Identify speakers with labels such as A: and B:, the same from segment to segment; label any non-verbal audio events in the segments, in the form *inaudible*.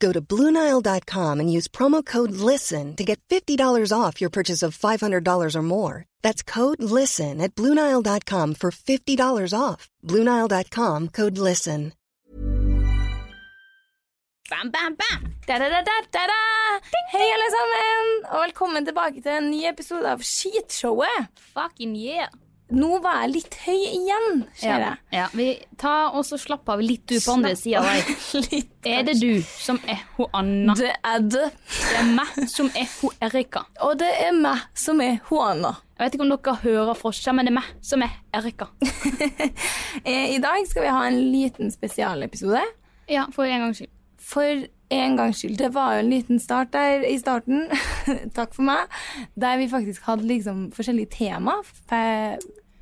A: Go to BlueNile.com and use promo code LISTEN to get $50 off your purchase of $500 or more. That's code LISTEN at BlueNile.com for $50 off. BlueNile.com code LISTEN.
B: Bam, bam, bam! Da-da-da-da-da-da! Hei, alle sammen, og velkommen tilbake til en ny episode av Skitshowet.
C: Fucking yeah.
B: Nå var jeg litt høy igjen, ser
C: Ja,
B: jeg.
C: ja. Vi tar og så slapp av litt du på andre sida der.
B: *laughs* Litt.
C: Er det du som er hun Anna?
B: Det er det.
C: Det er meg som er hun Erika.
B: Og det er meg som er Hoana.
C: Jeg vet ikke om dere hører forskjell, men det er meg som er
B: *laughs*
C: Erika.
B: Eh, I dag skal vi ha en liten spesialepisode.
C: Ja, for en gangs skyld.
B: For en gangs skyld. Det var jo en liten start der i starten. *laughs* Takk for meg. Der vi faktisk hadde liksom forskjellige tema på,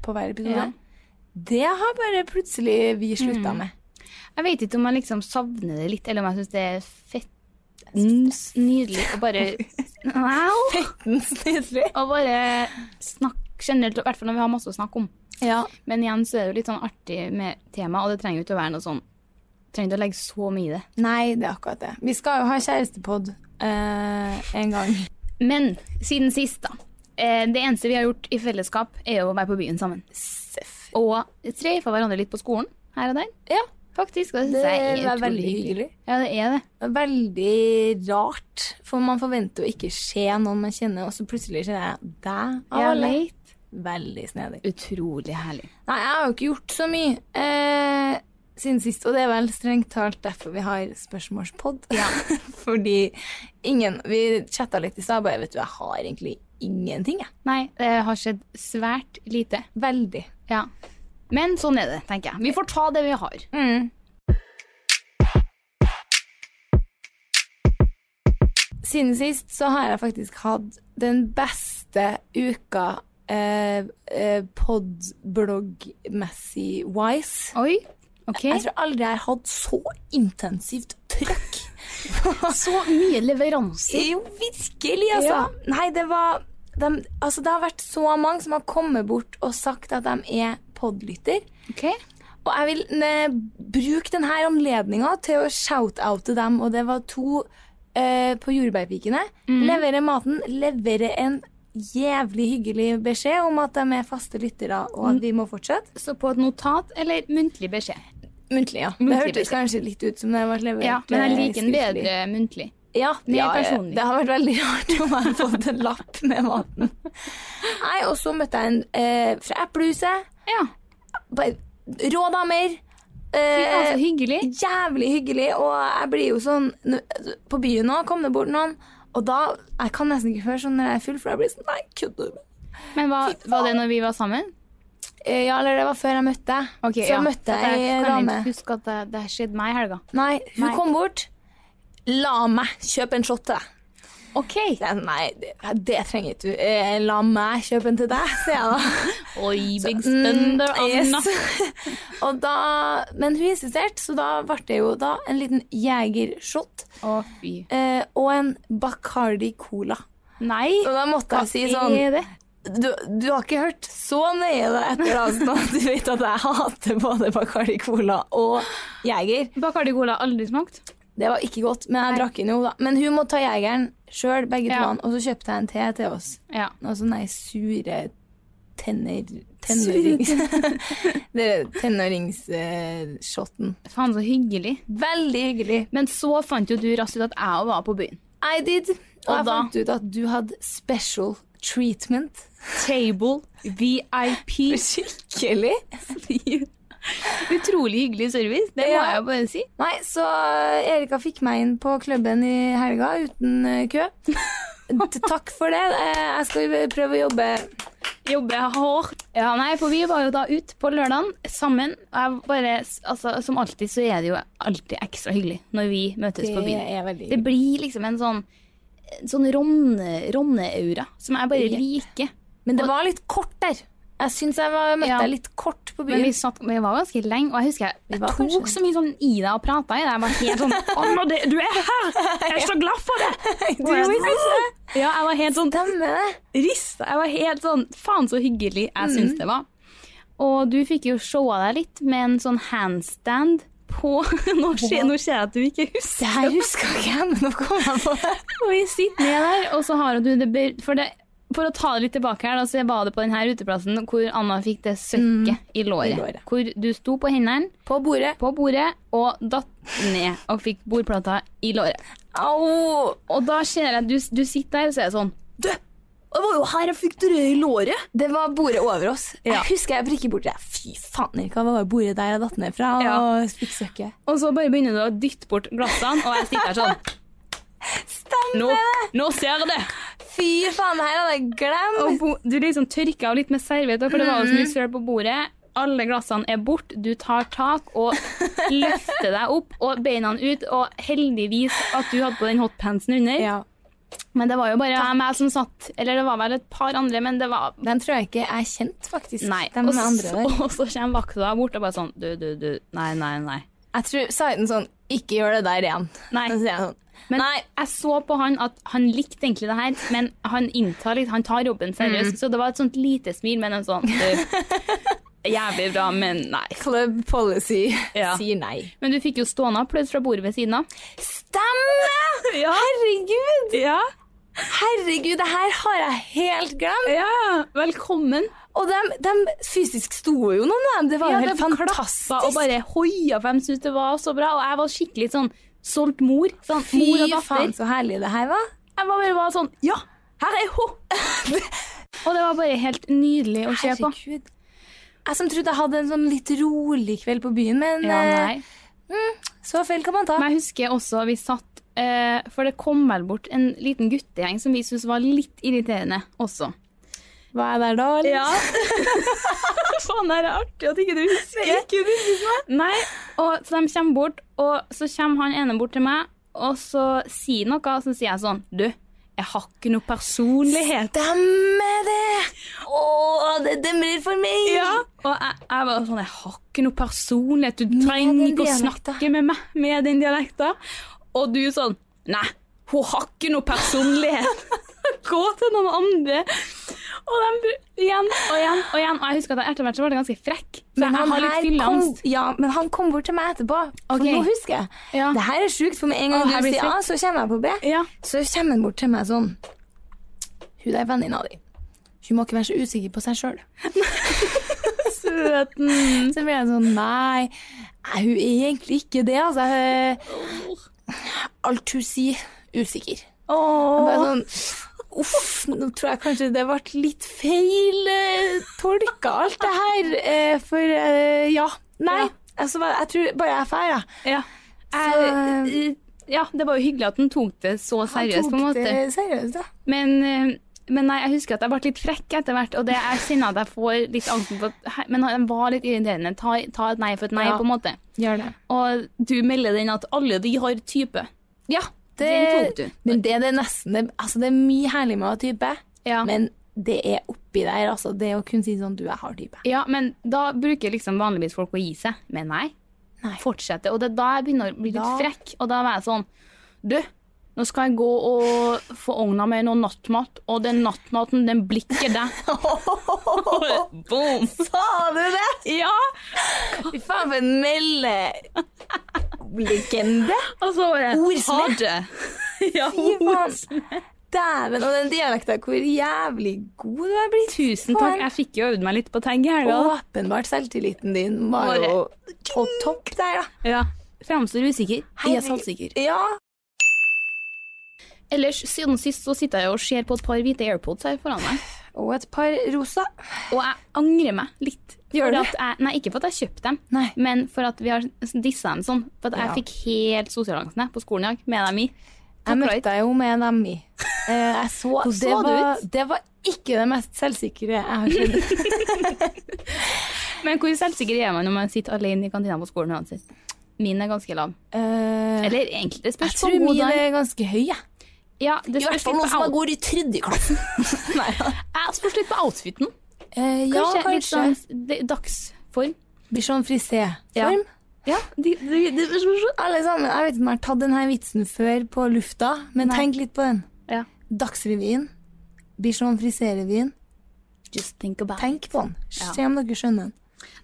B: på hver episode.
C: Ja. Mm.
B: Det har bare plutselig vi slutta med.
C: Jeg vet ikke om jeg liksom savner det litt, eller om jeg syns det er fett nydelig å bare
B: *laughs*
C: Wow!
B: Fettens nydelig.
C: Å bare snakke generelt, i hvert fall når vi har masse å snakke om.
B: Ja.
C: Men igjen så er det jo litt sånn artig med tema, og det trenger jo ikke å være noe sånn Trenger ikke å legge så mye i det.
B: Nei, det er akkurat det. Vi skal jo ha kjærestepod eh, en gang.
C: Men siden sist, da. eh, Det eneste vi har gjort i fellesskap, er jo å være på byen sammen.
B: Seff.
C: Og tre for hverandre litt på skolen her og der.
B: Ja,
C: Faktisk. Og det
B: det
C: synes jeg er
B: var
C: utrolig
B: veldig hyggelig.
C: Ja, det er det.
B: Veldig rart, for man forventer jo ikke se noen man kjenner, og så plutselig kjenner jeg deg. av
C: Ja,
B: alle.
C: leit.
B: Veldig snedig.
C: Utrolig herlig.
B: Nei, jeg har jo ikke gjort så mye eh, siden sist, og det er vel strengt talt derfor vi har spørsmålspod. *laughs* Fordi ingen Vi chatta litt i stad, bare vet du, jeg har egentlig ingenting, jeg.
C: Nei, det har skjedd svært lite.
B: Veldig.
C: Ja. Men sånn er det, tenker jeg. Vi får ta det vi har.
B: Mm. Siden sist så har jeg faktisk hatt den beste uka eh, eh, podblogg-messig wise.
C: Oi. Ok.
B: Jeg tror aldri jeg har hatt så intensivt
C: *laughs*
B: trøkk.
C: Så mye leveranser.
B: Jo, virkelig, altså.
C: Ja.
B: Nei, det var dem- altså, Det har vært så mange som har kommet bort og sagt at de er podlytter.
C: Ok.
B: Og jeg vil ne, bruke denne anledninga til å shout-oute dem. Og det var to eh, på Jordbærpikene. Levere maten, levere en jævlig hyggelig beskjed om at de er faste lyttere, og at vi må fortsette.
C: Så på et notat eller muntlig beskjed.
B: Muntlig, ja. det
C: Muntlig
B: hørtes kanskje litt ut som det var levert
C: Ja, men jeg
B: eh,
C: liker den
B: skriftlig.
C: bedre muntlig.
B: Ja,
C: Mer
B: ja,
C: personlig.
B: Det har vært veldig rart om jeg hadde fått en lapp med maten. Nei, og så møtte jeg en eh, fra Eplehuset.
C: Ja.
B: Bare Rå damer.
C: Fy
B: Eh,
C: faen, så altså hyggelig.
B: jævlig hyggelig, og jeg blir jo sånn nå- På byen nå kom det bort noen, og da Jeg kan nesten ikke høre sånn når jeg er full, for jeg blir sånn Nei, kødder du? med meg?»
C: Men hva, var det når vi var sammen?
B: Eh, Ja, eller det var før jeg møtte deg.
C: Ok,
B: så
C: ja.
B: møtte
C: For
B: jeg ei
C: kan
B: dame.
C: ikke huske at det, det skjedde meg i helga.
B: Nei, hun
C: Nei.
B: kom bort. La meg kjøpe en shot til deg.
C: Ok.
B: Det- Nei, det, det trenger ikke du. Eh, La meg kjøpe en til deg, sier jeg da. *laughs*
C: Oi, big
B: Mm,
C: spender, Anna. *laughs*
B: yes. og da, men hun insisterte, så da ble det jo da en liten jegershot
C: Å, fy.
B: eh, og en Bacardi Cola.
C: Nei.
B: Og da måtte jeg si sånn
C: er det?
B: du, du har ikke hørt så nøye det etter avsen at du vet at jeg hater både Bacardi Cola og Jeger.
C: Bacardi Cola har aldri smakt.
B: Det var ikke godt, men jeg drakk den jo, da. Men hun må ta jegeren sjøl, begge
C: Ja.
B: to. Og så kjøpte jeg en te til oss.
C: Ja.
B: Noe sånn nei, sure tenner... Tenårings... *laughs* det er tenåringsshoten.
C: Faen, så hyggelig.
B: Veldig hyggelig.
C: Men så fant jo du raskt ut at jeg òg var på byen.
B: I did. Og,
C: Og
B: jeg
C: da?
B: fant ut at du hadde special treatment.
C: Table, VIP.
B: Skikkelig.
C: *laughs* Utrolig hyggelig service, det må
B: Ja.
C: jeg jo bare si.
B: Nei, så eh, Erika fikk meg inn på klubben i helga uten eh, kø. T- Takk for det. Eh, Jeg skal prøve å jobbe
C: Jobbe hardt. Ja, nei, for vi var jo da ut på lørdagen sammen. Og jeg bare, altså, som alltid så er det jo alltid ekstra hyggelig når vi møtes på byen.
B: er veldig
C: Det blir liksom en sånn, en sånn ronne- ronne-aura som jeg bare liker.
B: Men det var litt kort der. Jeg syns jeg var, møtte
C: Ja.
B: deg litt kort på
C: Men
B: byen.
C: vi, satt, men vi var ganske lenge, og jeg husker jeg, jeg
B: var
C: tok
B: kanskje-
C: så mye sånn i deg og prata i deg. Jeg var helt
B: *laughs*
C: sånn Anna, det, du er her! Jeg er så glad for det!
B: *laughs* Du visste det.
C: Ja, jeg var helt sånn
B: Stemmer det?
C: rista. Jeg var helt sånn Faen, så hyggelig
B: Mm.
C: jeg syns det var. Og du fikk jo showa deg litt med en sånn handstand på *laughs* Nå ser, nå ser jeg at du ikke husker.
B: Det her huska ikke jeg, men nå kom jeg på det.
C: Og vi sitter ned der, og så har du det be- For, det, for å ta det litt tilbake her, da, så var det på denne uteplassen hvor Anna fikk det søkket i, låret,
B: Mm. I låret.
C: Hvor du sto på hendene
B: På bordet.
C: på bordet og datt ned og fikk bordplata i låret.
B: Au!
C: Og da ser jeg at du, du sitter der, og så er det sånn Du! Det var jo her jeg fikk det i låret!
B: Det var bordet over oss.
C: Ja.
B: Jeg husker jeg prikker borti det. Fy faen, Erika, hva var bordet der jeg datt ned fra?
C: Ja.
B: Og fikk søkket.
C: Og så bare begynner du å dytte bort glassene, og jeg sitter der sånn Nå,
B: Stemmer det!
C: nå ser jeg det!
B: Fy faen, det her hadde jeg
C: Og
B: glemt.
C: bo, du liksom tørker av litt med servietter, for det var jo så
B: Mm.
C: mye søl på bordet. Alle glassene er borte, du tar tak
B: *laughs*
C: og løfter deg opp og beina ut. Og heldigvis at du hadde på den hotpantsen under.
B: Ja.
C: Men det var jo bare meg som satt, eller det var vel et par andre, men det var
B: Den tror jeg ikke er kjent, faktisk.
C: Nei.
B: De
C: Og
B: andre
C: så,
B: der.
C: og så kommer vakta bort og bare sånn Du, du, du. Nei, nei, nei.
B: Jeg tror sa den sånn Ikke gjør det der igjen.
C: Nei.
B: Så sier jeg sånn
C: Men
B: Nei.
C: jeg så på han at han likte egentlig det her, men han inntar litt, han tar jobben seriøst.
B: Mm.
C: Så det var et sånt lite smil, men en sånn du,
B: *laughs*
C: Jævlig bra, men nei.
B: Club policy
C: *laughs* Ja.
B: sier nei.
C: Men du fikk jo stående applaus fra bordet ved siden av.
B: Stemmer!
C: Ja.
B: Herregud!
C: Ja,
B: Herregud, det her har jeg helt glemt.
C: velkommen.
B: Og de, fysisk sto jo noen av dem. Det var jo helt fantastisk.
C: Og bare hoia for de syntes det var så bra. Og jeg var skikkelig sånn solgt mor. Sånn, mor og datter.
B: så herlig det her var.
C: Jeg var bare bare sånn Ja, her er hun!
B: *laughs*
C: og det var bare helt nydelig å se på.
B: Herregud. Jeg som trodde jeg hadde en sånn litt rolig kveld på byen, men
C: Ja,
B: eh,
C: nei.
B: så feil kan man ta.
C: Men jeg husker også vi satt eh, For det kom vel bort en liten guttegjeng som vi syntes var litt irriterende også.
B: Hva er det der da? eller?
C: Faen, det er artig at ikke du husker.
B: Ikke du husker meg.
C: Nei, og så de kommer bort, og så kommer han ene bort til meg, og så sier noe, og så sier jeg sånn, du, jeg har ikke noe personlighet.
B: Stemmer det! Å, det demrer for meg!
C: Og jeg, jeg var sånn, jeg har ikke noe personlighet, du
B: den
C: trenger ikke å
B: dialekta.
C: snakke med meg med den dialekta. Og du sånn, nei, hun har ikke noe personlighet. *laughs* Gå til noen andre. Og de, br- igjen og igjen og igjen. Og jeg husker at jeg etter hvert så var det ganske frekk. For
B: Men
C: jeg
B: han,
C: har litt
B: her kom,
C: fylleangst.
B: ja, men han kom bort til meg etterpå, for
C: Ok.
B: nå husker jeg.
C: Ja.
B: Det her er sjukt, for med en gang
C: Å, her
B: du
C: blir
B: sier A, så kommer jeg på B.
C: Ja.
B: Så kommer han bort til meg sånn Hun der venninna di, hun må ikke være så usikker på seg sjøl.
C: *laughs* Søten.
B: Så blir jeg sånn Nei, nei, hun er egentlig ikke det, altså. Eh, Alt hun sier, usikker.
C: Åh.
B: Bare sånn Uff, nå tror jeg kanskje det ble litt feil eh, tolka, alt det her. Eh, for eh, ja. Nei.
C: Ja.
B: Altså, bare- jeg tror bare jeg er feil, jeg.
C: Ja.
B: Så- eh,
C: Jeg- Eh, ja, det var jo hyggelig at han tok det så seriøst, på en måte.
B: Seriøst, da.
C: Men, eh, men nei, jeg husker at jeg ble litt frekk etter hvert, og det jeg kjenner at jeg får litt angsten for at he- Men han var litt irriterende. Ta, ta et nei for et nei,
B: Ja.
C: på en måte.
B: Gjør det.
C: Og du melder den at alle de har type.
B: Ja,
C: Den tok du.
B: Men det, det er nesten det, altså det er mye herlig med å ha type,
C: Ja. Men,
B: men det er oppi der, altså. Det å kunne si sånn Du, jeg har
C: *laughs*
B: type.
C: ja, men da bruker liksom vanligvis folk å gi seg. Men nei.
B: Nei.
C: Fortsette. Og det er da jeg begynner å bli litt
B: Da-
C: frekk, og da var jeg sånn Du, Nå skal jeg gå og få ordna meg noe nattmat, og den nattmaten, den blikker der.
B: *laughs*
C: Boom!
B: Sa du det?!
C: Ja!
B: Fy faen, for en melde... Legende.
C: Og så var det
B: Ordsmed.
C: Ha det! *laughs* ja,
B: Fy faen.
C: ordsmed.
B: Dæven. Og den dialekten, hvor jævlig god du er blitt.
C: Tusen takk. Jeg fikk jo øvd meg litt på tagg i helga.
B: Åpenbart selvtilliten din var
C: Bare-
B: jo på topp der, da.
C: Ja. Framstår usikker. Jeg er
B: Herregud.
C: selvsikker.
B: Ja.
C: Ellers, siden sist så sitter jeg og ser på et par hvite AirPods her foran
B: *sighs*
C: meg,
B: Og et par rosa.
C: og jeg angrer meg litt.
B: Gjør
C: For
B: du?
C: at jeg, nei, ikke for at jeg kjøpte dem,
B: Nei.
C: men for at vi har dissa dem sånn. For at jeg
B: Ja.
C: fikk helt sosialangsten jeg, på skolen i dag med dem i.
B: Jeg
C: Takk for
B: møtte deg jo med dem i. Eh, Jeg så,
C: Hvordan
B: det,
C: så du
B: var,
C: ut?
B: det var ikke det mest selvsikre jeg har sett.
C: Men hvor selvsikker er man når man sitter alene i kantina på skolen uansett? Min er ganske lav.
B: Eh,
C: Eller egentlig, det
B: jeg
C: spørs på
B: tror
C: god
B: min
C: dag.
B: er ganske høy, jeg.
C: Ja, det spørs litt på out-
B: går i tredje klassen.
C: Jeg spørs litt på altså, outfiten.
B: *laughs* Eh, ja,
C: Kanskje,
B: kanskje.
C: litt sånn d- dagsform.
B: Blir sånn
C: Ja.
B: frisé-form.
C: Ja, de, de, de,
B: Alle sammen, Jeg vet ikke om jeg har tatt denne vitsen før på lufta, men tenk litt på den.
C: Ja.
B: Dagsrevyen. Bichon Frisé-revyen.
C: Just think about it.
B: Tenk på den.
C: Ja.
B: Se om dere skjønner den.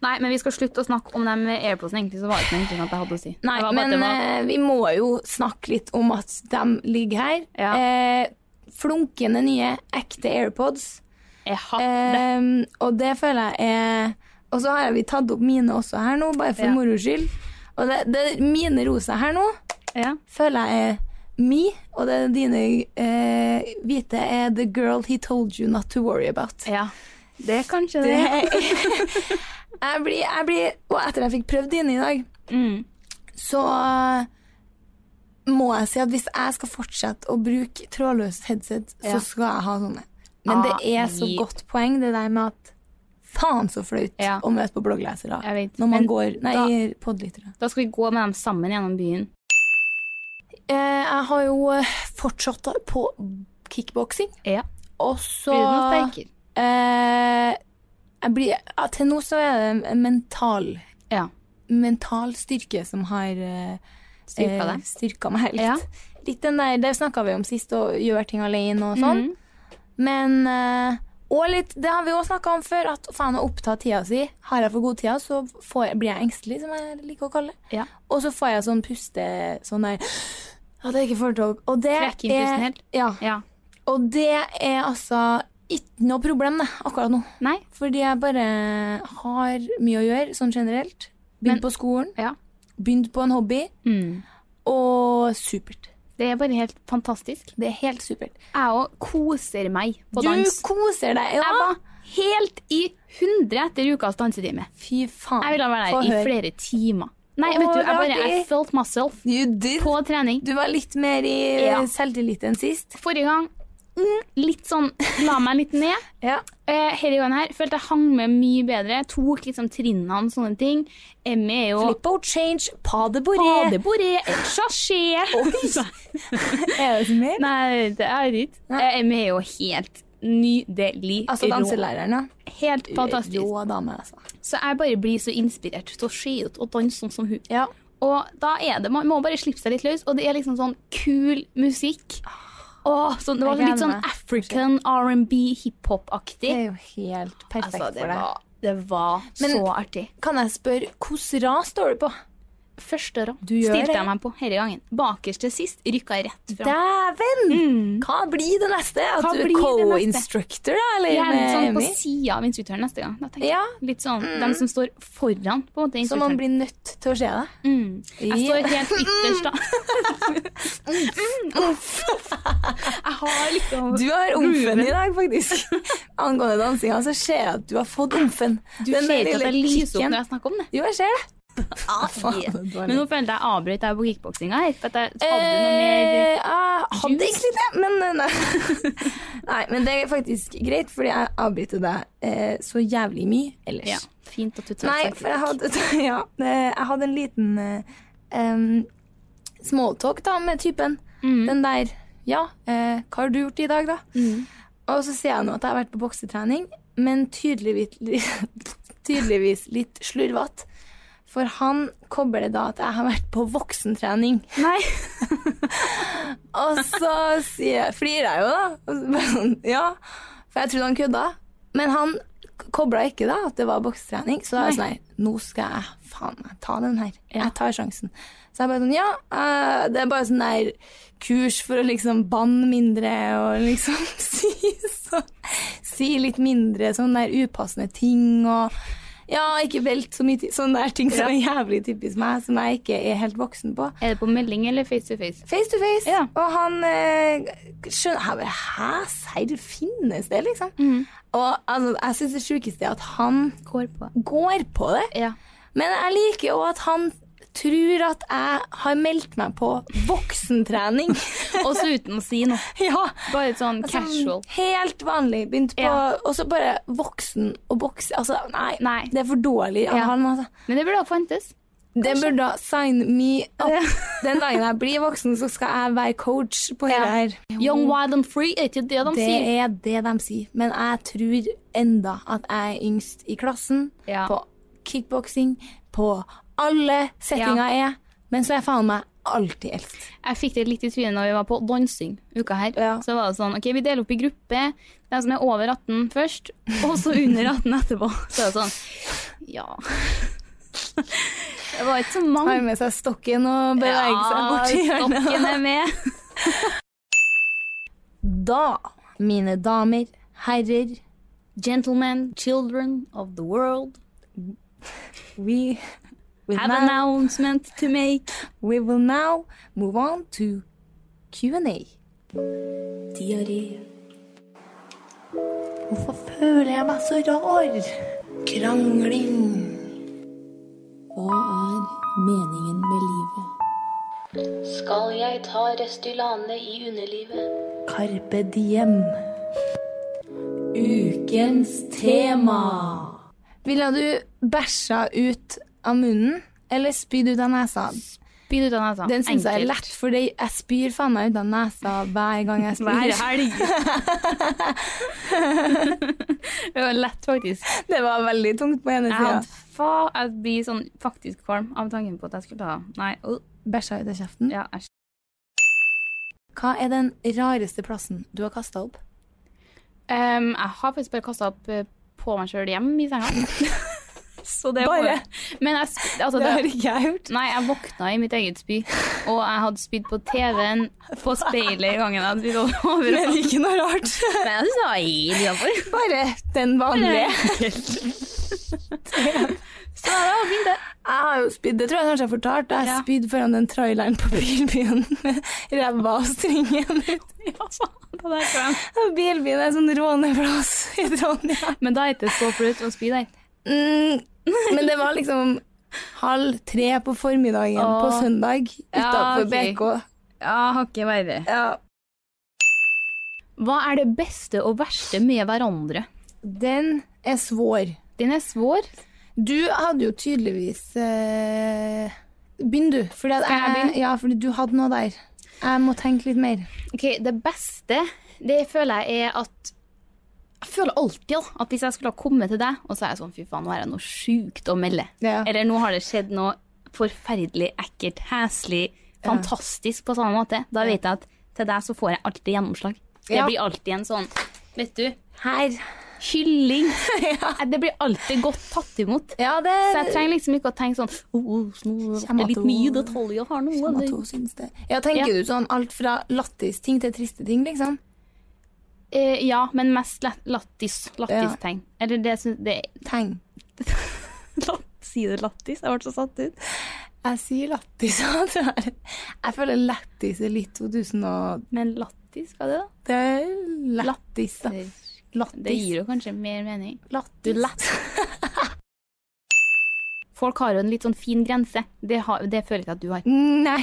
C: Nei, men vi skal slutte å snakke om dem airpodsene. Egentlig så var det ikke noe interessant jeg hadde å si.
B: Nei,
C: det var bare at
B: men
C: det var,
B: eh, vi må jo snakke litt om at de ligger her.
C: Ja.
B: Eh, flunkende nye, ekte AirPods.
C: jeg har det.
B: Eh, og det føler jeg er Og så har vi tatt opp mine også her nå, bare for
C: Ja.
B: moro skyld. Og det, det er mine rosa her nå.
C: eh, Ja.
B: føler jeg er me, og det er dine eh, hvite er the girl he told you not to worry about.
C: ja. Det er kanskje
B: Det
C: det.
B: er, *laughs* jeg blir, jeg blir, og etter jeg fikk prøvd dine i dag,
C: Mm.
B: så eh, må jeg si at hvis jeg skal fortsette å bruke trådløst headset,
C: Ja.
B: så skal jeg ha sånne. Men det er så
C: Ah,
B: godt poeng, det der med at faen så flaut
C: Ja.
B: å møte på blogglesere
C: Jeg vet.
B: når man
C: Men
B: går Nei, podlyttere.
C: Da skal vi gå med dem sammen gjennom byen.
B: Eh, jeg har jo eh, fortsatt på kickboksing.
C: Ja.
B: Og så
C: Blir det noe sterkere?
B: eh, jeg blir, ja, Til nå så er det en mental,
C: Ja.
B: mental styrke som har eh,
C: Styrka
B: eh,
C: deg?
B: styrka meg litt.
C: Ja.
B: litt den der, det snakka vi om sist, å gjøre ting alene og sånn.
C: Mhm.
B: Men eh, og litt, det har vi òg snakka om før, at faen å oppta tida si. Har jeg for god tida, så får, jeg- blir jeg engstelig, som jeg liker å kalle det.
C: Ja.
B: Og så får jeg sånn puste sånn der At jeg ikke får det opp. Og det
C: Trekker inn pusten helt?
B: Ja.
C: Ja.
B: Og det er altså ikke noe problem det, akkurat nå.
C: Nei.
B: Fordi jeg bare har mye å gjøre, sånn generelt.
C: Men-
B: Begynt på skolen,
C: Ja.
B: begynt på en hobby,
C: Mm.
B: og supert.
C: Det er bare helt fantastisk.
B: Det er helt supert.
C: Jeg òg koser meg på
B: du
C: dans.
B: koser deg, ja!
C: Jeg var helt i hundre etter ukas dansetime.
B: Fy faen.
C: Jeg ville være
B: Få
C: der i
B: høre.
C: flere timer. Nei,
B: Å,
C: vet du,
B: det
C: jeg
B: var
C: bare I
B: gøy.
C: felt myself
B: You did.
C: på trening.
B: Du var litt mer i
C: Ja.
B: selvtillit enn sist.
C: Forrige gang mm, litt sånn la meg litt ned.
B: Ja.
C: Eh, Denne gangen her følte jeg hang med mye bedre. Tok liksom trinnene og sånne ting. Emmy er jo
B: Flippo change, pas de bourré.
C: Badeboré, sasjé *laughs*
B: Er det så mer?
C: Nei, det er dritt. Eh, Emmy er jo helt nydelig.
B: Altså
C: rå.
B: danselæreren, ja.
C: Helt fantastisk.
B: Rå dame, altså.
C: Så jeg bare blir så inspirert til å se ut og danse sånn som hun.
B: Ja.
C: Og da er det, Man må bare slippe seg litt løs, og det er liksom sånn kul musikk. Åh, sånn, det var
B: Jeg
C: litt sånn
B: Ah, gleder meg.
C: African R&B,
B: Det
C: hiphop-aktig.
B: er jo helt perfekt
C: Altså, det
B: for deg.
C: var, det var
B: Men-
C: så artig.
B: Kan jeg spørre, hvilket ras står du på?
C: Første rad
B: Du gjør
C: stilte
B: det.
C: jeg meg på hele gangen. Bakerst til sist rykka jeg rett fra.
B: Dæven! Hva blir det neste? At
C: Mm. Hva
B: du er
C: blir det neste?
B: co-instructor, da? Eller
C: Gjerne
B: med
C: sånn på
B: Emmy?
C: sida av instruktøren neste gang. Da tenker jeg.
B: Ja,
C: Litt sånn, Dem som står foran. på en måte
B: Mm. så man
C: instruktøren.
B: blir nødt til å se det.
C: Mm. Jeg står helt
B: *laughs*
C: ytterst, da. Mm. Jeg har liksom
B: Du har omfen i dag, faktisk. *laughs* Angående dansinga, så ser jeg at du har fått omfen.
C: Du ser ikke at jeg lyser opp når jeg snakker om det.
B: Jo, jeg ser
C: *laughs*
B: det.
C: Men nå følte jeg avbrøt deg på kickboksinga. her, for at jeg Hadde du noe mer
B: Eh, jeg Eh, hadde egentlig det, men eh, nei. *laughs* nei. Men det er faktisk greit, fordi jeg avbryter deg eh, så jævlig mye ellers.
C: ja, Fint at du tar
B: Eh, Nei,
C: seg
B: for jeg hadde, *laughs* ja, eh, jeg hadde en liten eh, em, smalltalk da, med typen. Den der Ja, eh, hva har du gjort i dag, da? Og så sier jeg nå at jeg har vært på *laughs* boksetrening, men tydeligvis, tydeligvis litt slurvete. For han kobler det da at jeg har vært på voksentrening.
C: Nei.
B: Og så sier, flirer jeg jo, da. Og så bare sånn, Ja, for jeg trodde han kødda. Men han kobla ikke da at det var boksetrening, så da var jeg sånn Nei, nå skal jeg faen meg ta den her. Jeg tar sjansen. Så jeg bare sånn Ja, eh, det er bare sånn der kurs for å liksom banne mindre og liksom *laughs* si så Si litt mindre sånn der upassende ting og ja, ikke velt så mye ti- sånne der ting som er jævlig typisk meg, som jeg ikke er helt voksen på.
C: Er det på melding eller face to face?
B: Face to face.
C: Ja.
B: Og han eh, skjønner jeg bare, Hæ, serr, finnes det, liksom? Og altså, jeg syns det sjukeste er at han
C: Mm. Går på.
B: går på det.
C: Ja.
B: Men jeg liker jo at han tror at jeg har meldt meg på
C: *laughs*
B: voksentrening.
C: Også uten å si noe.
B: ja.
C: Bare litt sånn
B: Altså,
C: casual.
B: Helt vanlig. Begynte på
C: Ja.
B: Og så bare voksen og bokse. Altså, nei,
C: Nei.
B: Det er for dårlig av
C: Ja.
B: han. Altså.
C: Men det burde ha fantes.
B: Den burde da sign me up.
C: Ja.
B: *laughs* Den dagen jeg blir voksen, så skal jeg være coach på
C: Ja.
B: hele her.
C: Young, wild and free er ikke det de
B: Det
C: sier.
B: er det de sier. Men jeg tror enda at jeg er yngst i klassen.
C: Ja.
B: På kickboksing, på alle settinger jeg er. Men så er jeg faen meg alltid eldst.
C: Jeg fikk det litt i trynet når vi var på dansing uka her.
B: Ja.
C: Så var det sånn, ok, vi deler opp i gruppe. De som er over 18 først, og så under 18 etterpå. Så er det sånn, ja. Det var ikke så mange.
B: Har med seg stokken og beveger seg bort i hjørnet.
C: stokken er med.
B: Da, mine damer, herrer,
C: Gentlemen, children of the world,
B: we will
C: have
B: now,
C: announcement to *laughs* make.
B: we will now move on to Q&A. Hvorfor føler jeg meg så rar? Krangling. Hva er meningen med livet?
D: Skal jeg ta Restylane i underlivet?
B: Carpe diem. Ukens tema. Ville du bæsja ut av munnen eller spydd ut av nesa?
C: Spyd ut av nesa.
B: Den syns jeg er
C: Enkelt.
B: lett, for jeg spyr faen meg ut av nesa hver gang
C: *laughs*
B: jeg spyr.
C: Hver helg. det var lett, faktisk.
B: *laughs* Det var veldig tungt på ene
C: Jeg,
B: sida.
C: hadde fa jeg blir sånn faktisk kvalm av tanken på at jeg skulle ta Nei, øh,
B: Bæsja ut av kjeften.
C: ja, æsj.
B: Hva er den rareste plassen du har kasta opp?
C: Ehm, jeg har faktisk bare kasta opp eh, på meg sjøl hjem i *laughs* senga. Så det
B: Bare?
C: var- Men jeg, sp- altså, *laughs* det,
B: ikke jeg gjort.
C: Nei, jeg våkna i mitt eget spy, og jeg hadde spydd på TV-en, på speilet i gangen jeg hadde spydd over-
B: Men
C: overalt.
B: ikke noe rart.
C: *laughs*
B: *laughs*
C: Men jeg synes det var helt innenfor.
B: Bare den vanlige. *laughs*
C: Så det var fint, det.
B: Jeg har jo spydd, det tror jeg kanskje jeg fortalte. Jeg
C: Ja.
B: spydde foran den traileren på bilbyen *laughs* med ræva og stringen ut.
C: *laughs* Ja, faen, det der kan jeg.
B: Bilbyen er en sånn råneplass i Trondheim.
C: Men da er det ikke så flaut å spy der.
B: Mm, *laughs* men det var liksom halv tre på formiddagen
C: Åh.
B: på søndag
C: Ja,
B: utafor
C: ok.
B: BK.
C: Ja, har ikke verre.
B: Ja,
C: Hva er det beste og verste med hverandre?
B: den er svår.
C: Den er svår.
B: Du hadde jo tydeligvis eh, Begynn, du. Fordi at
C: Skal jeg begynne?
B: Ja, fordi du hadde noe der. Jeg må tenke litt mer.
C: Ok, Det beste det føler jeg er at Jeg føler alltid da, at hvis jeg skulle ha kommet til deg, og så er jeg sånn fy faen, nå har jeg noe sjukt å melde.
B: Ja.
C: Eller nå har det skjedd noe forferdelig ekkelt, heslig, fantastisk på samme måte. Da vet jeg at til deg så får jeg alltid gjennomslag. Det
B: Ja.
C: blir alltid en sånn Vet du,
B: Her.
C: *laughs* kylling. Det blir alltid godt tatt imot.
B: Ja, det
C: Så jeg trenger liksom ikke å tenke sånn oh, oh, nå er det
B: Kjem at
C: litt
B: hun-
C: mye detaljer her nå.
B: Om at
C: eller?»
B: hun syns det. Ja, tenker
C: Ja.
B: du sånn alt fra lattis ting til triste ting, liksom?
C: Eh, ja, men mest la- lattis. Lattistegn. Eller det syns det *laughs*
B: Tegn.
C: Latt, Sier du lattis? Jeg ble så satt ut.
B: Jeg sier lattis. *laughs* og det er- Jeg føler lattis er litt 2000 og
C: Men lattis, hva er det, da?
B: Det er lattis, da.
C: Det, det
B: Lattis.
C: gir jo kanskje mer mening. Du
B: Lattis.
C: latt. Folk har jo en litt sånn fin grense. Det, har, det føler jeg ikke at du har.
B: *laughs* Nei,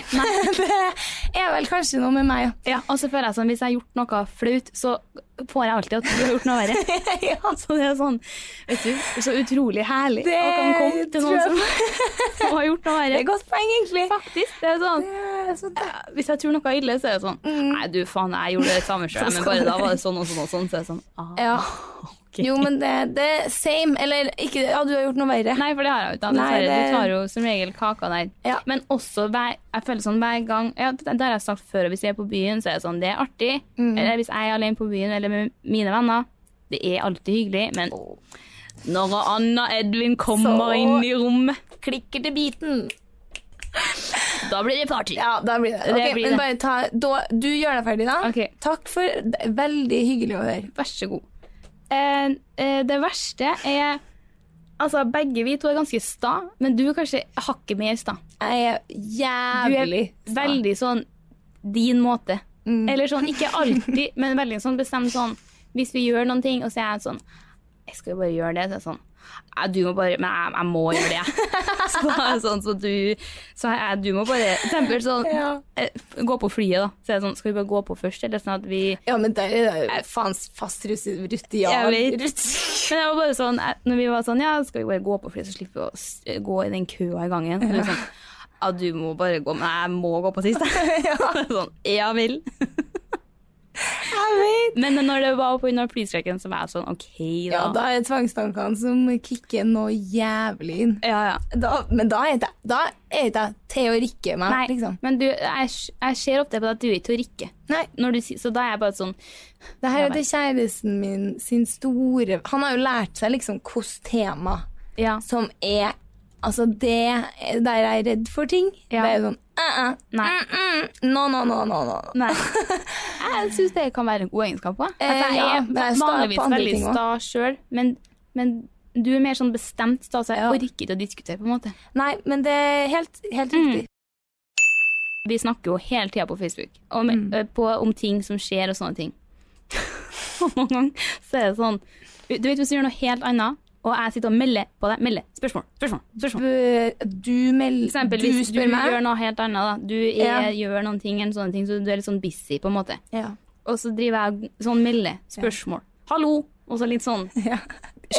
B: *laughs* det er vel kanskje noe med meg,
C: Ja, Og så føler jeg sånn, hvis jeg har gjort noe flaut, så får jeg alltid at du har gjort noe verre.
B: *laughs* ja.
C: *laughs* Så det er sånn, vet du, så utrolig herlig
B: Det
C: å kan komme til
B: tror
C: noen
B: jeg-
C: som, som *laughs* har gjort noe
B: Det
C: verre.
B: er godt poeng, egentlig.
C: Faktisk. Det er sånn,
B: Det er så deilig.
C: Ja, Hvis jeg tror noe er ille, så er
B: Mm. *laughs*
C: det sånn Nei, du faen, jeg gjorde det samme sjøl, men bare da var det sånn og sånn og sånn. Så er det sånn ah,
B: Ja.
E: Ok.
B: Jo, men det, det same. Eller ikke Ja, du har gjort noe verre.
C: Nei, for det har jeg jo ikke. da.
B: Nei,
C: Dessverre.
B: det-
C: Du tar jo som regel kaka der.
B: Ja.
C: Men også hver, jeg føler sånn hver gang ja, Det det har jeg sagt før, og hvis jeg er på byen, så er det sånn, det er artig.
B: Mm.
C: Eller hvis jeg er alene på byen eller med mine venner, det er alltid hyggelig, men når Anna Edvin kommer
B: Så-
C: inn i rommet,
B: Klikker til biten.
C: da blir det party.
B: Ja, da blir det.
C: Det
B: Ok,
C: blir
B: men
C: det.
B: bare ta da, Du gjør deg ferdig, da.
C: Ok.
B: Takk for det er Veldig hyggelig å høre.
C: Vær så god. Eh, eh, det verste er Altså, begge vi to er ganske sta, men du er kanskje hakket mer sta.
B: Jeg er
C: Du er
B: jævlig sta.
C: veldig sånn din måte. Eller sånn, ikke alltid, men veldig sånn bestemt sånn Hvis vi gjør noen ting, og så er jeg sånn Jeg skal jo bare gjøre det. Så er jeg sånn «Nei, du må bare Men jeg, jeg *laughs* må gjøre det. Så, er jeg sånn, så du Så er jeg, du må bare For eksempel sånn
B: Ja.
C: eh, Gå på flyet, da. Så er jeg sånn Skal vi bare gå på først, eller sånn at vi
B: Ja, men der er det jo faen fast rutian.
C: Jeg
B: *laughs*
C: vet. *laughs* Men jeg var bare sånn, eh, når vi var sånn, ja, skal vi bare gå på flyet, så slipper vi å s- gå i den køa i gangen. Eller sånn, ja, du må bare gå, men jeg må gå på sist.
B: *laughs*
C: *laughs* ja. Sånn, jeg vil.
B: Jeg vet.
C: Men når det var på under flystreken, så var jeg sånn, ok da.
B: Ja, da er det tvangstankene som kicker noe jævlig inn.
C: ja, ja.
B: Da, men da er det da er det til å rikke meg,
C: Nei,
B: liksom.
C: men du, jeg, s- jeg ser ofte på deg at du er ikke å rikke.
B: Nei.
C: Når du, sier- så da er jeg bare sånn,
B: Det her er
C: Jeg
B: til kjæresten min sin store Han har jo lært seg liksom hvilket tema
C: ja,
B: som er Altså, det der jeg er redd for ting,
C: Ja.
B: det er jo sånn uh-uh,
C: Nei.
B: mm-mm, No, no, no, no, no. no.
C: Nei. *laughs* Jeg syns det kan være en god egenskap òg.
B: Eh,
C: Altså, jeg
B: ja,
C: er
B: men jeg er sta på
C: vanligvis
B: andre
C: veldig
B: ting også.
C: sta sjøl, men, men du er mer sånn bestemt sta, så jeg
B: Ja.
C: orker ikke å diskutere, på en måte.
B: Nei, men det er helt, helt
C: Mm.
B: riktig.
C: Vi snakker jo hele tida på Facebook om,
B: Mm.
C: eh, på, om ting som skjer og sånne ting. *laughs* Og noen ganger så er det sånn Du vet hvis du gjør noe helt annet, og jeg sitter og melder på deg melder, spørsmål, spørsmål, spørsmål.
B: B- Du, meld,
C: For eksempel
B: du
C: hvis du
B: spør meg.
C: gjør noe helt annet, da. Du er, gjør noen ting, eller sånne ting, så du er litt sånn busy, på en måte.
B: Ja. *laughs*
C: Og så driver jeg og sånn melder spørsmål. Hallo! Og så litt sånn
B: Ja.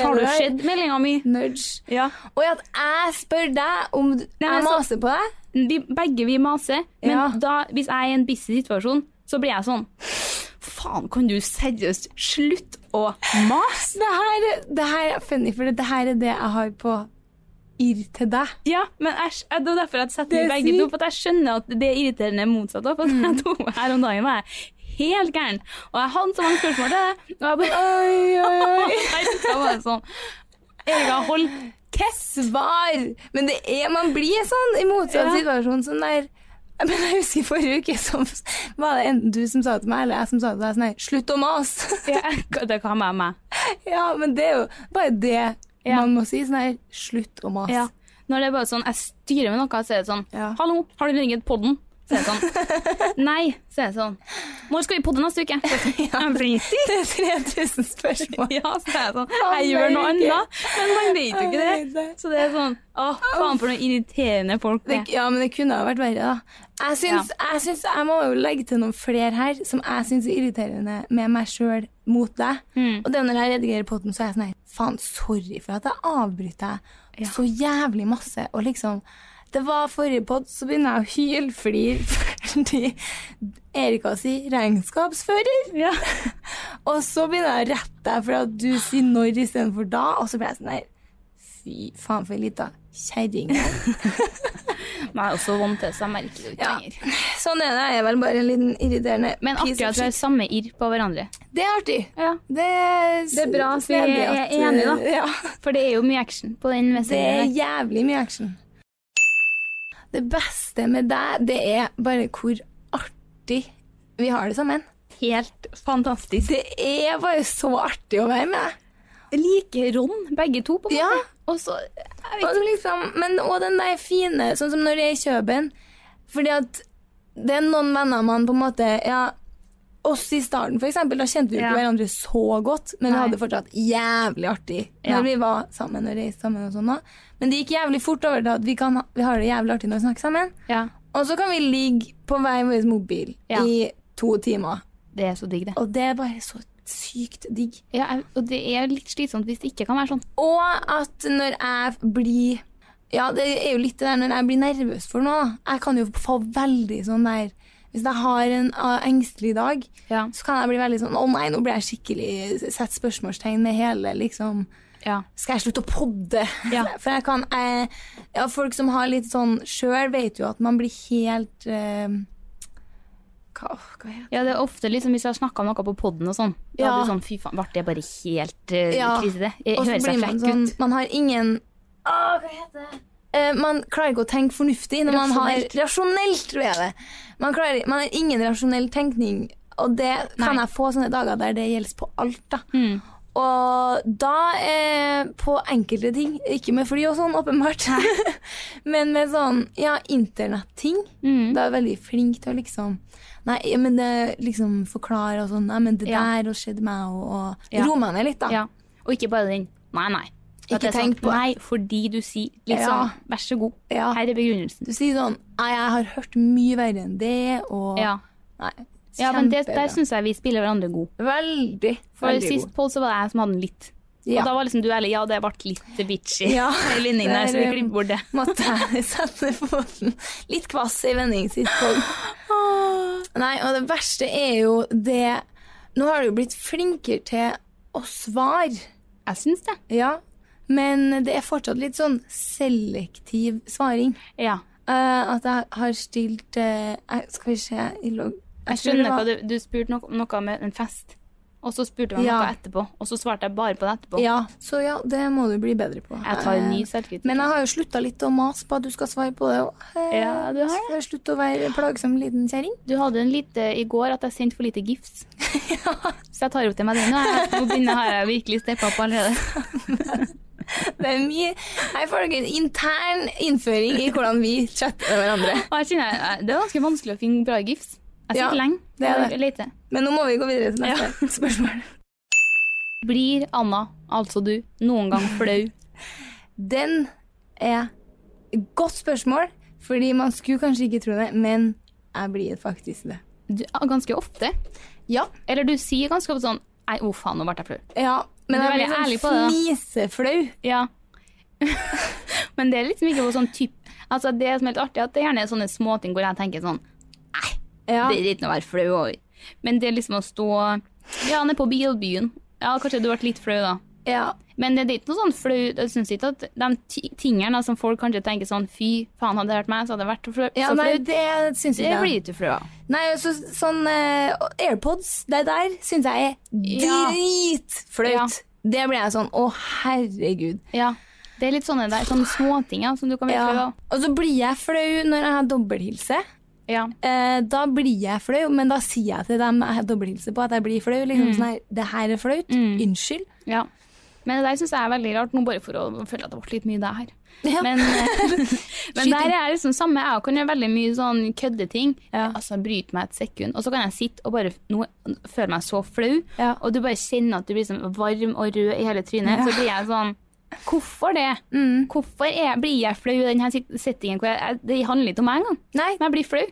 C: Har du
B: Er det
C: sett meldinga mi?
B: Nudge.
C: Ja.
B: Og at jeg spør deg om du-
C: men
B: jeg
C: så-
B: maser på deg.
C: Vi, begge vi maser, men
B: Ja.
C: da, hvis jeg er i en busy situasjon, så blir jeg sånn Faen, kan du seriøst slutte å mase?
B: Det her, det her er funny, for det her er det jeg har på irr til deg.
C: Ja, men æsj. Det er derfor jeg setter
B: Det er
C: meg begge to,
B: sykt. Mm.
C: for at jeg skjønner at det er irriterende motsatt òg. For jeg tok meg her om dagen var jeg helt gæren, og jeg hadde så mange spørsmål til deg, og jeg bare
B: Oi,
C: *laughs*
B: oi, oi.
C: Jeg var sånn Erika, hold
B: *laughs* Hva svar? Men det er, man blir sånn i motsatt
C: Ja.
B: situasjon. Sånn der, men jeg husker forrige uke, så var det enten du som sa til meg, eller jeg som sa til deg sånn her, slutt å mase.
C: *laughs* Det kan være meg.
B: *laughs* ja, men det er jo bare det
C: Ja.
B: man må si. Sånn her, slutt å mase.
C: Ja. Når det er bare sånn, jeg styrer med noe, så er det sånn
B: Ja.
C: 'Hallo, har du ringet podden?' Så er det sånn. *laughs* Nei, så er det sånn. 'Når skal vi podde neste uke?' Så er det *laughs* sånn, «Fritid?»
B: Det er *laughs* 3000 spørsmål.
C: Ja, så er det sånn. Jeg gjør noe annet, men man vet jo ikke
B: Jeg vet
C: det.
B: det.
C: Så det er sånn Å, faen for noen irriterende folk det
B: Det, ja, men det kunne ha vært verre, da. Jeg syns, jeg syns jeg må jo legge til noen flere her som jeg syns er irriterende med meg sjøl mot deg. Og det er når jeg redigerer potten, så er jeg sånn her Faen, sorry for at jeg avbryter deg så jævlig masse. Og liksom Det var forrige pod, så begynner jeg å hylflire fordi Erika sier 'regnskapsfører'. *laughs* og så begynner jeg å rette deg for at du sier 'når' istedenfor 'da', og så blir jeg sånn her Fy faen, for ei lita kjerring.
C: Men jeg er også vant til det, så jeg merker det jo ikke
B: Ja.
C: lenger.
B: *laughs* Sånn er det. Jeg er vel bare en liten irriterende
C: Men
B: piece
C: akkurat
B: of
C: vi har
B: shit.
C: samme irr på hverandre.
B: Det er artig.
C: Ja.
B: Det er,
C: Det er bra at vi
B: snedig
C: er
B: at-
C: enige, da.
B: Ja.
C: For det er jo mye action på den
B: Det er
C: messingen.
B: jævlig mye action. Det beste med deg, det er bare hvor artig vi har det sammen.
C: der. Helt fantastisk.
B: Det er bare så artig å være med deg.
C: Like Ron, begge to, på en måte.
B: Ja.
C: Og så jeg vet
B: Og liksom, men også den der fine, sånn som når jeg er i Kjøben. Fordi at det er noen venner man på en måte ja, oss i starten, for eksempel, da kjente vi jo ikke
C: Ja.
B: hverandre så godt, men vi
C: Nei.
B: hadde fortsatt jævlig artig når
C: Ja.
B: vi var sammen og reiste sammen og sånn da. Men det gikk jævlig fort over til at vi, kan, ha- vi har det jævlig artig når vi snakker sammen.
C: Ja.
B: Og så kan vi ligge på hver vår mobil
C: Ja.
B: i to timer.
C: Det er så digg, det.
B: Og det er bare så sykt digg.
C: Ja, jeg- og det er litt slitsomt hvis det ikke kan være sånn.
B: Og at når jeg blir Ja, det er jo litt det der når jeg blir nervøs for noe. da. Jeg kan jo få veldig sånn der Hvis jeg har en eh, engstelig dag,
C: Ja.
B: så kan jeg bli veldig sånn Å nei, nå blir jeg skikkelig Sett spørsmålstegn med hele liksom
C: Ja.
B: skal jeg slutte å podde?
C: Ja.
B: *laughs* For jeg kan eh, ja, Folk som har litt sånn sjøl, vet jo at man blir helt eh, hva, hva heter det?
C: ja, det er ofte liksom hvis jeg har snakka om noe på poden og sånn, da
B: Ja.
C: blir det sånn fy faen, ble jeg bare helt uh,
B: Ja.
C: krise? Jeg
B: Og så
C: hører
B: blir
C: seg
B: man
C: flekk
B: sånn,
C: ut.
B: Man har ingen Å, hva heter det? Eh, man klarer ikke å tenke fornuftig når man har
C: Rasjonelt.
B: Rasjonelt, tror jeg det. Man, klarer, man har ingen rasjonell tenkning, og det kan
C: Nei.
B: jeg få sånne dager der det gjelder på alt. da.
C: Mm.
B: Og da eh, på enkelte ting, ikke med fly og sånn, åpenbart, *laughs* men med sånn ja, internetting.
C: Mm.
B: Da er jeg veldig flink til å liksom Nei, men det liksom forklare og sånn. Nei, men det
C: Ja.
B: der og skjedde meg, og, og
C: Ja.
B: Roe meg ned litt, da.
C: Ja. Og ikke bare den nei, nei. At
B: Ikke
C: det er sånn,
B: tenk på det.
C: Nei, fordi du sier litt
B: Ja.
C: sånn vær så god,
B: Ja.
C: her er begrunnelsen.
B: Du sier sånn Nei, jeg har hørt mye verre enn det, og
C: Ja.
B: Nei,
C: ja, men det,
B: kjempebra.
C: der syns jeg vi spiller hverandre god.
B: Veldig,
C: For
B: veldig
C: sist
B: god.
C: poll så var det jeg som hadde den litt.
B: Ja.
C: Og da var liksom du ærlig. Ja, det ble litt bitchy.
B: Ja.
C: *laughs* i vendingen der, så vi
B: Der, eh,
C: klipper bort det.
B: *laughs* Måtte jeg sette foten litt kvass i vending sist poll. *gasps* Nei, og det verste er jo det Nå har du jo blitt flinkere til å svare,
C: Jeg syns det.
B: ja. Men det er fortsatt litt sånn selektiv svaring.
C: Ja.
B: Eh, at jeg har stilt eh, jeg- Skal vi se i logg...
C: Jeg skjønner hva du, du spurte noe, noe med en fest, og så spurte du meg
B: Ja.
C: noe etterpå, og så svarte jeg bare på det etterpå.
B: Ja, så ja, det må du bli bedre på.
C: Jeg tar en ny
B: Eh,
C: selvkritikk.
B: Men jeg har jo slutta litt å mase på at du skal svare på det òg.
C: Ja, du har det.
B: Skal jeg slutte å være plagsom liten
C: *laughs*
B: kjerring?
C: Du hadde en lite i går at jeg sendte for lite
B: *laughs*
C: gifts. Så jeg tar jo til meg den. Nå, jeg, nå begynner, har jeg virkelig steppa opp
B: *laughs*
C: allerede.
B: Det er mye Her får dere en intern innføring i hvordan vi chatter med hverandre.
C: Og jeg kjenner, jeg- det er ganske vanskelig å finne bra gifts. Jeg sitter
B: Ja,
C: lenge
B: det er
C: og leter.
B: Men nå må vi gå videre til neste
C: *laughs*
B: spørsmål.
C: Blir Anna, altså du, noen gang flau?
B: *laughs* Den er et godt spørsmål, fordi man skulle kanskje ikke tro det, men jeg blir faktisk det.
C: Du, ja, ganske ofte.
B: Ja.
C: Eller du sier ganske ofte sånn Nei, å faen, nå ble jeg flau.
B: ja men
C: Du er
B: jeg
C: veldig
B: blir
C: ærlig på
B: sånn
C: det, da.
B: fniseflau.
C: Ja. *laughs* Men det er liksom ikke på sånn typ Altså Det som er litt artig, er at det gjerne er sånne småting hvor jeg tenker sånn
B: Ja.
C: Det er ikke noe å være flau over. Men det er liksom å stå Ja, han er på bilbyen. Ja, kanskje du ble litt flau, da.
B: ja.
C: Men det er ikke noe sånn flau Jeg syns ikke at de ti- tingene som folk kanskje tenker sånn Fy faen, hadde det vært meg, så hadde det vært flau.
B: ja
C: så
B: nei,
C: flau.
B: det syns
C: Det
B: ikke jeg.
C: blir ikke flau av.
B: Nei, altså sånn eh, AirPods, det der syns jeg er
C: Ja.
B: dritflaut.
C: Ja.
B: Det blir jeg sånn Å, herregud.
C: Ja. Det er litt sånne der, sånne småting ja, som du kan bli flau
B: Ja.
C: av.
B: Og så blir jeg flau når jeg har dobbelthilse.
C: Ja.
B: Eh, da blir jeg flau, men da sier jeg til dem jeg har dobbelthilse på at jeg blir flau. Liksom sånn her, Det her er flaut. Unnskyld.
C: ja. Men det der syns jeg er veldig rart, nå bare for å føle at det ble litt mye det her.
B: Ja.
C: Men, eh,
B: *laughs* eh,
C: men der er jeg liksom samme. Jeg kan gjøre veldig mye sånn køddeting. Altså bryte meg et sekund. Og så kan jeg sitte og bare nå føle meg så flau,
B: Ja.
C: og du bare kjenner at du blir sånn varm og rød i hele trynet. Så blir jeg sånn Hvorfor det?
B: Mm.
C: Hvorfor er, blir jeg flau i denne settingen? Hvor jeg, jeg, det handler ikke om meg engang.
B: Nei.
C: Men jeg blir flau.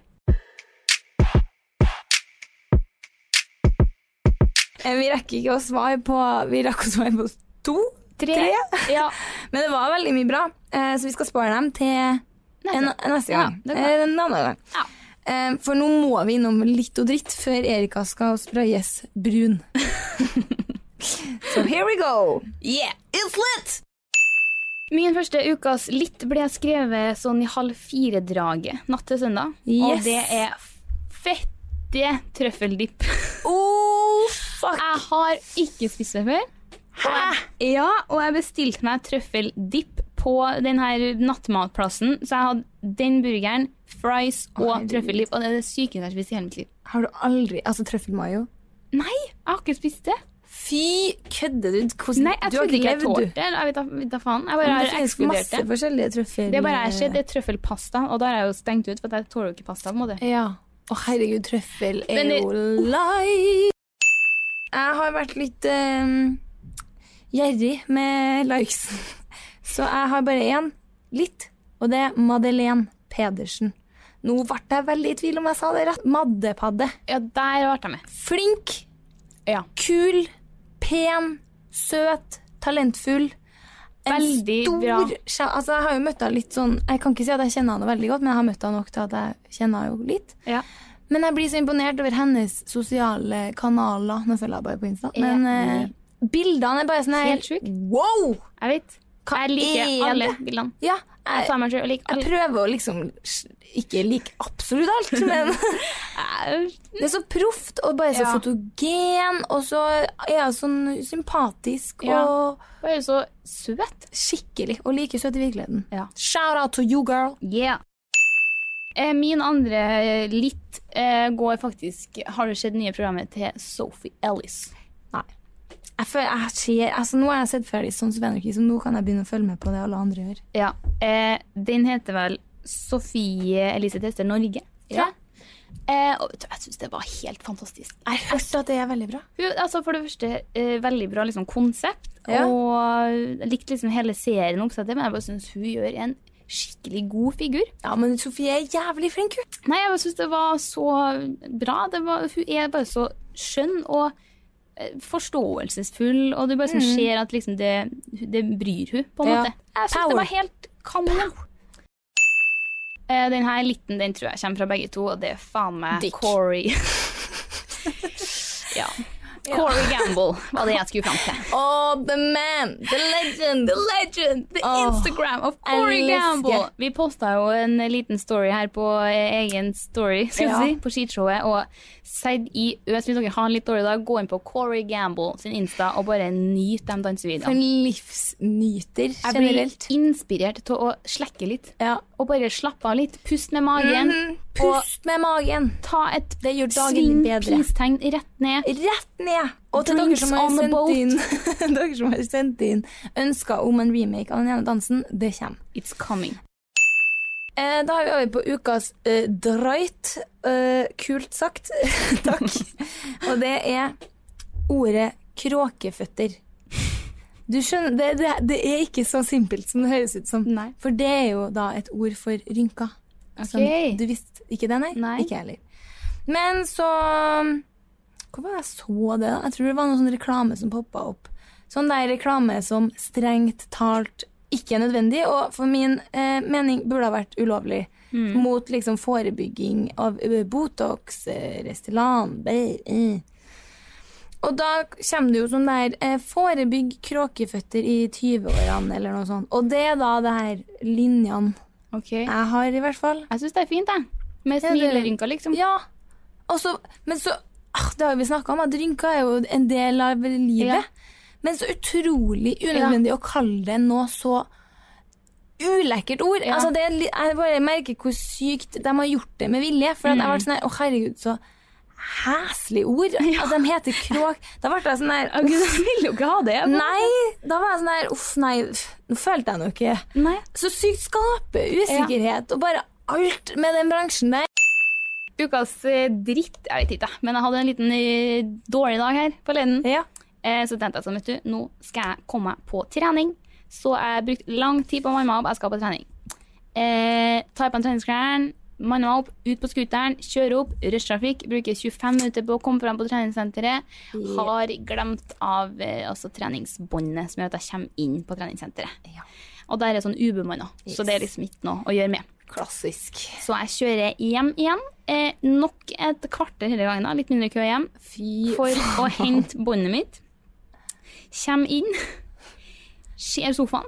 B: Eh, vi rekker ikke å svare på Vi rakk å svare på to. Tre.
C: *laughs* Ja.
B: Men det var veldig mye bra, eh, så vi skal spare dem til
C: Neste.
B: En, neste
C: Ja,
B: gang.
C: det kan
B: Eh, en annen gang.
C: Ja.
B: Eh, for nå må vi innom litt og dritt før Erika skal sprayes brun. so here we go. Yeah, it's lit!
C: Min første ukas litt ble skrevet sånn i halv fire-draget natt til søndag.
B: Yes.
C: Og det er fette trøffeldipp. *laughs*
B: Oh, fuck!
C: Jeg har ikke spist det før. Ja, og jeg bestilte meg trøffeldipp på den her nattmatplassen. Så jeg hadde den burgeren, fries og
B: herregud.
C: trøffeldipp. Og det er det sykeste jeg har spist i hele mitt liv.
B: Har du aldri Altså, trøffelmayo?
C: Nei, jeg har ikke spist det.
B: Fy, kødder du? Hvordan-
C: Nei, jeg
B: du har
C: trodde
B: ikke
C: ikke jeg
B: levd, du.
C: tålte det. eller Jeg vet da- vet da faen. Jeg bare
B: Men det
C: har
B: finnes
C: ekskludert
B: masse
C: det.
B: forskjellige trøffel...
C: Det er bare jeg ser, det er trøffelpasta, og da har jeg jo stengt ut, for at jeg tåler jo ikke pasta. på en måte.
B: Ja. Å, herregud, trøffel er
C: Men det-
B: jo light! Jeg har vært litt eh, gjerrig med likes. *laughs* Så jeg har bare én. Litt. Og det er Madeleine Pedersen. Nå ble jeg veldig i tvil om jeg sa det rett. Maddepadde.
C: Ja, der ble jeg med.
B: Flink,
C: Ja.
B: kul, pen, søt, talentfull.
C: Veldig bra.
B: sja- Altså, jeg har jo møtt henne litt sånn Jeg kan ikke si at jeg kjenner henne veldig godt, men jeg har møtt henne nok til at jeg kjenner henne jo litt. Men jeg blir så imponert over hennes sosiale kanaler. Nå følger jeg bare på Insta.
C: Ja.
B: Men eh, bildene er bare sånn her-
C: Helt sjukt.
B: Wow!
C: Jeg vet. Jeg liker
B: er
C: alle
B: det?
C: bildene.
B: Ja,
C: Jeg
B: jeg,
C: tar meg selv og liker
B: jeg
C: alle.
B: prøver å liksom s- ikke like absolutt
C: *laughs*
B: alt, men *laughs* det er så proft og bare så
C: Ja.
B: fotogen, og så er hun sånn sympatisk
C: Ja.
B: og
C: Hun er jo så søt.
B: skikkelig, og like søt i virkeligheten.
C: Ja.
B: Shout out to you, girl!
C: Yeah. Eh, Min andre eh, litt eh, går faktisk Har du sett nye programmet til Sophie Ellis?
B: Jeg føler, jeg ser, altså nå har jeg sett ferdig sånn Sven-Rikki, så nå kan jeg begynne å følge med på det alle andre gjør.
C: Ja. Eh, den heter vel Sofie Elise Tester Norge, tror
B: Ja.
C: jeg. Eh, og vet du, jeg syns det var helt fantastisk.
B: Jeg har hørt at det er veldig bra.
C: Hun, altså for det første, eh, veldig bra liksom, konsept.
B: Ja.
C: Og jeg likte liksom hele serien oppsettet, men jeg bare syns hun gjør en skikkelig god figur.
B: Ja, men Sofie er jævlig flink, hun.
C: Nei, jeg bare syns det var så bra. Det var, hun er bare så skjønn og eh, forståelsesfull, og du bare liksom ser at liksom det, det bryr hun på en
B: Ja.
C: måte. Jeg syns
B: Power.
C: det var helt kanon. Eh, Den her liten den tror jeg kommer fra begge to, og det er faen meg
B: Dick.
C: Corey. *laughs* ja. Corey Gamble var det jeg skulle fram til.
B: Oh, the man, the legend,
C: The legend, the
B: Åh,
C: Instagram of Corey
B: elsker.
C: Gamble. Vi posta jo en liten story her på eh, egen story, *laughs* skal vi
B: Ja.
C: si, på skishowet. Og Seid i Øs, hvis dere har en litt dårlig dag, gå inn på Corey Gamble sin Insta og bare nyt de
B: For
C: dansevideoene.
B: en livsnyter
C: Jeg blir
B: generelt.
C: inspirert til å slekke litt.
B: Ja.
C: Og bare slappe av litt. Pust med magen.
B: Pust med magen.
C: Ta et
B: Mhm. Det gjør dagen
C: sving
B: din bedre.
C: pristegn rett ned.
B: Rett ned! Og til dere
C: Drinks
B: som, har
C: on the boat.
B: sendt inn, *laughs* dere som har sendt inn ønsker om en remake av den ene dansen, det kommer.
C: It's coming.
B: Eh, da er vi over på ukas eh, drøyt. Eh, kult sagt. *laughs* Takk. Og det er ordet kråkeføtter. Du skjønner, det, det, det er ikke så simpelt som det høres ut som.
C: Nei.
B: For det er jo da et ord for rynker. Som du visste ikke det, nei?
C: Nei.
B: Ikke jeg heller. Men så Hvor var det jeg så det? da? Jeg tror det var noe sånn reklame som poppa opp. Sånn der reklame som strengt talt ikke er nødvendig, og for min eh, mening burde ha vært ulovlig. Mot liksom forebygging av ø, Botox, eh, Restylane, bæ, eh. Og da kommer det jo sånn der eh, Forebygg kråkeføtter i 20-årene, eller noe sånt. Og det er da det her linjene
C: Ok.
B: jeg har, i hvert fall.
C: Jeg syns det er fint, jeg. Med
B: Ja, det-
C: smilerynker, liksom.
B: Ja. Og så, men så ah, Det har vi snakka om, at rynker er jo en del av livet.
C: Ja.
B: Men så utrolig unødvendig å kalle det noe så ulekkert ord.
C: Ja.
B: Altså, det er, li- jeg bare merker hvor sykt de har gjort det med vilje. For at jeg
C: Mm.
B: ble sånn her Å, herregud, så heslig
C: *laughs*
B: ord. At de heter kråk. Da ble jeg sånn her
C: Å, Gud, *laughs* jeg vil jo ikke ha det.
B: *laughs* Nei! Da var jeg sånn her Uff, nei. pff, Nå følte jeg nå ikke
C: Nei.
B: Så sykt skape usikkerhet og bare alt med den bransjen der.
C: Ukas eh, dritt Jeg vet ikke, jeg. men jeg hadde en liten eh, dårlig dag her forleden.
B: Ja.
C: Eh, Så tenkte jeg sånn, vet du, nå skal jeg komme meg på trening. Så jeg brukte lang tid på å manne meg opp. Jeg skal på trening. Eh, tar på en treningsklærne, manner meg opp, ut på scooteren, kjører opp, rushtrafikk. Bruker 25 minutter på å komme fram på treningssenteret. Har glemt av eh, altså, treningsbåndet som gjør at jeg kommer inn på treningssenteret. Og der er sånn ubemanna, så det er liksom ikke noe å gjøre med.
B: Klassisk.
C: Så jeg kjører hjem igjen. Eh, nok et kvarter hele gangen, da, litt mindre kø hjem,
B: Fy
C: for å hente båndet mitt. Kjem inn, ser sofaen,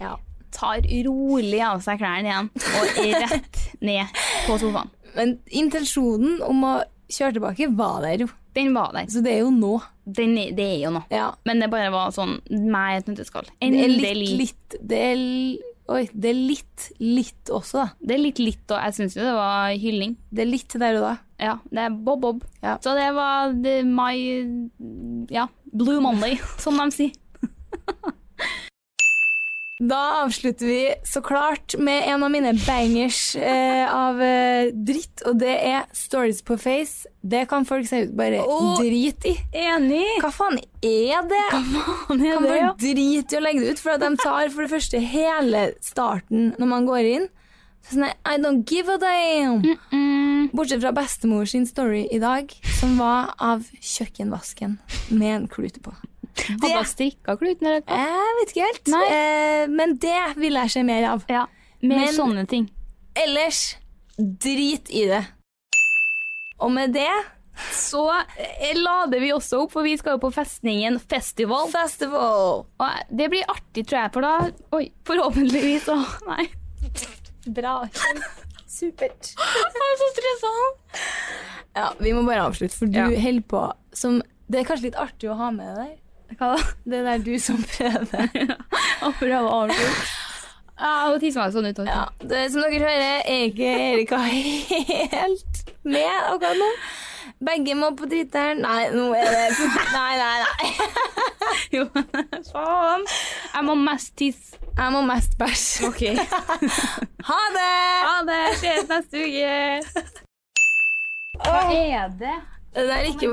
B: Ja.
C: tar rolig av seg klærne igjen og rett ned på sofaen.
B: Men intensjonen om å kjøre tilbake var der jo.
C: Den var der.
B: Så det er jo nå.
C: Den, er- det er jo noe.
B: Ja.
C: Men det bare var sånn meg et nøtteskall.
B: Det er
C: Endelig.
B: litt, litt det er, l- Oi, det er litt, litt også, da.
C: Det er litt litt, og jeg syns jo det var hylling.
B: Det er litt der og da.
C: Ja, det er Bob Bob.
B: Ja.
C: Så det var det, my Ja, Blue Monday, som de sier.
B: Da avslutter vi så klart med en av mine bangers eh, av eh, dritt, og det er stories på face. Det kan folk se ut bare
C: Åh.
B: drit i.
C: Enig!
B: Hva faen er det?
C: Kan
B: Kan bare drite i å legge det ut, for at de tar for det første hele starten når man går inn. Så sånn her, I don't give a damn.
C: Mm.
B: Bortsett fra bestemor sin story i dag, som var av kjøkkenvasken med en klute på.
C: Hadde jeg strikka kluten eller hva?
B: Jeg vet ikke helt,
C: Nei.
B: eh, men det vil jeg se mer av.
C: Ja, mer
B: Men-
C: sånne ting.
B: Ellers, drit i det. Og med det
C: Så eh, lader vi også opp, for vi skal jo på Festningen festival.
B: Festival!
C: Og eh, det blir artig, tror jeg, for da Oi, forhåpentligvis Å, *laughs* nei.
B: Bra. Supert.
C: Jeg er så stressa.
B: Ja, vi må bare avslutte, for du
C: Ja.
B: holder på som Det er kanskje litt artig å ha med det der.
C: Hva da?
B: Det er der du som prøver.
C: *laughs* Å prøve å avslutte. Ja, hun tisser meg sånn ut.
B: Ja, det er Som dere hører, er ikke Erika helt med akkurat nå. Begge må på dritteren. Nei, nå er det Nei, nei, nei.
C: *laughs* Jo. Faen. Jeg må mest tisse.
B: Jeg må mest bæsje.
C: OK.
B: *laughs* Ha det!
C: Ha det. Ses neste uke. Hva er det?
B: Det der er ikke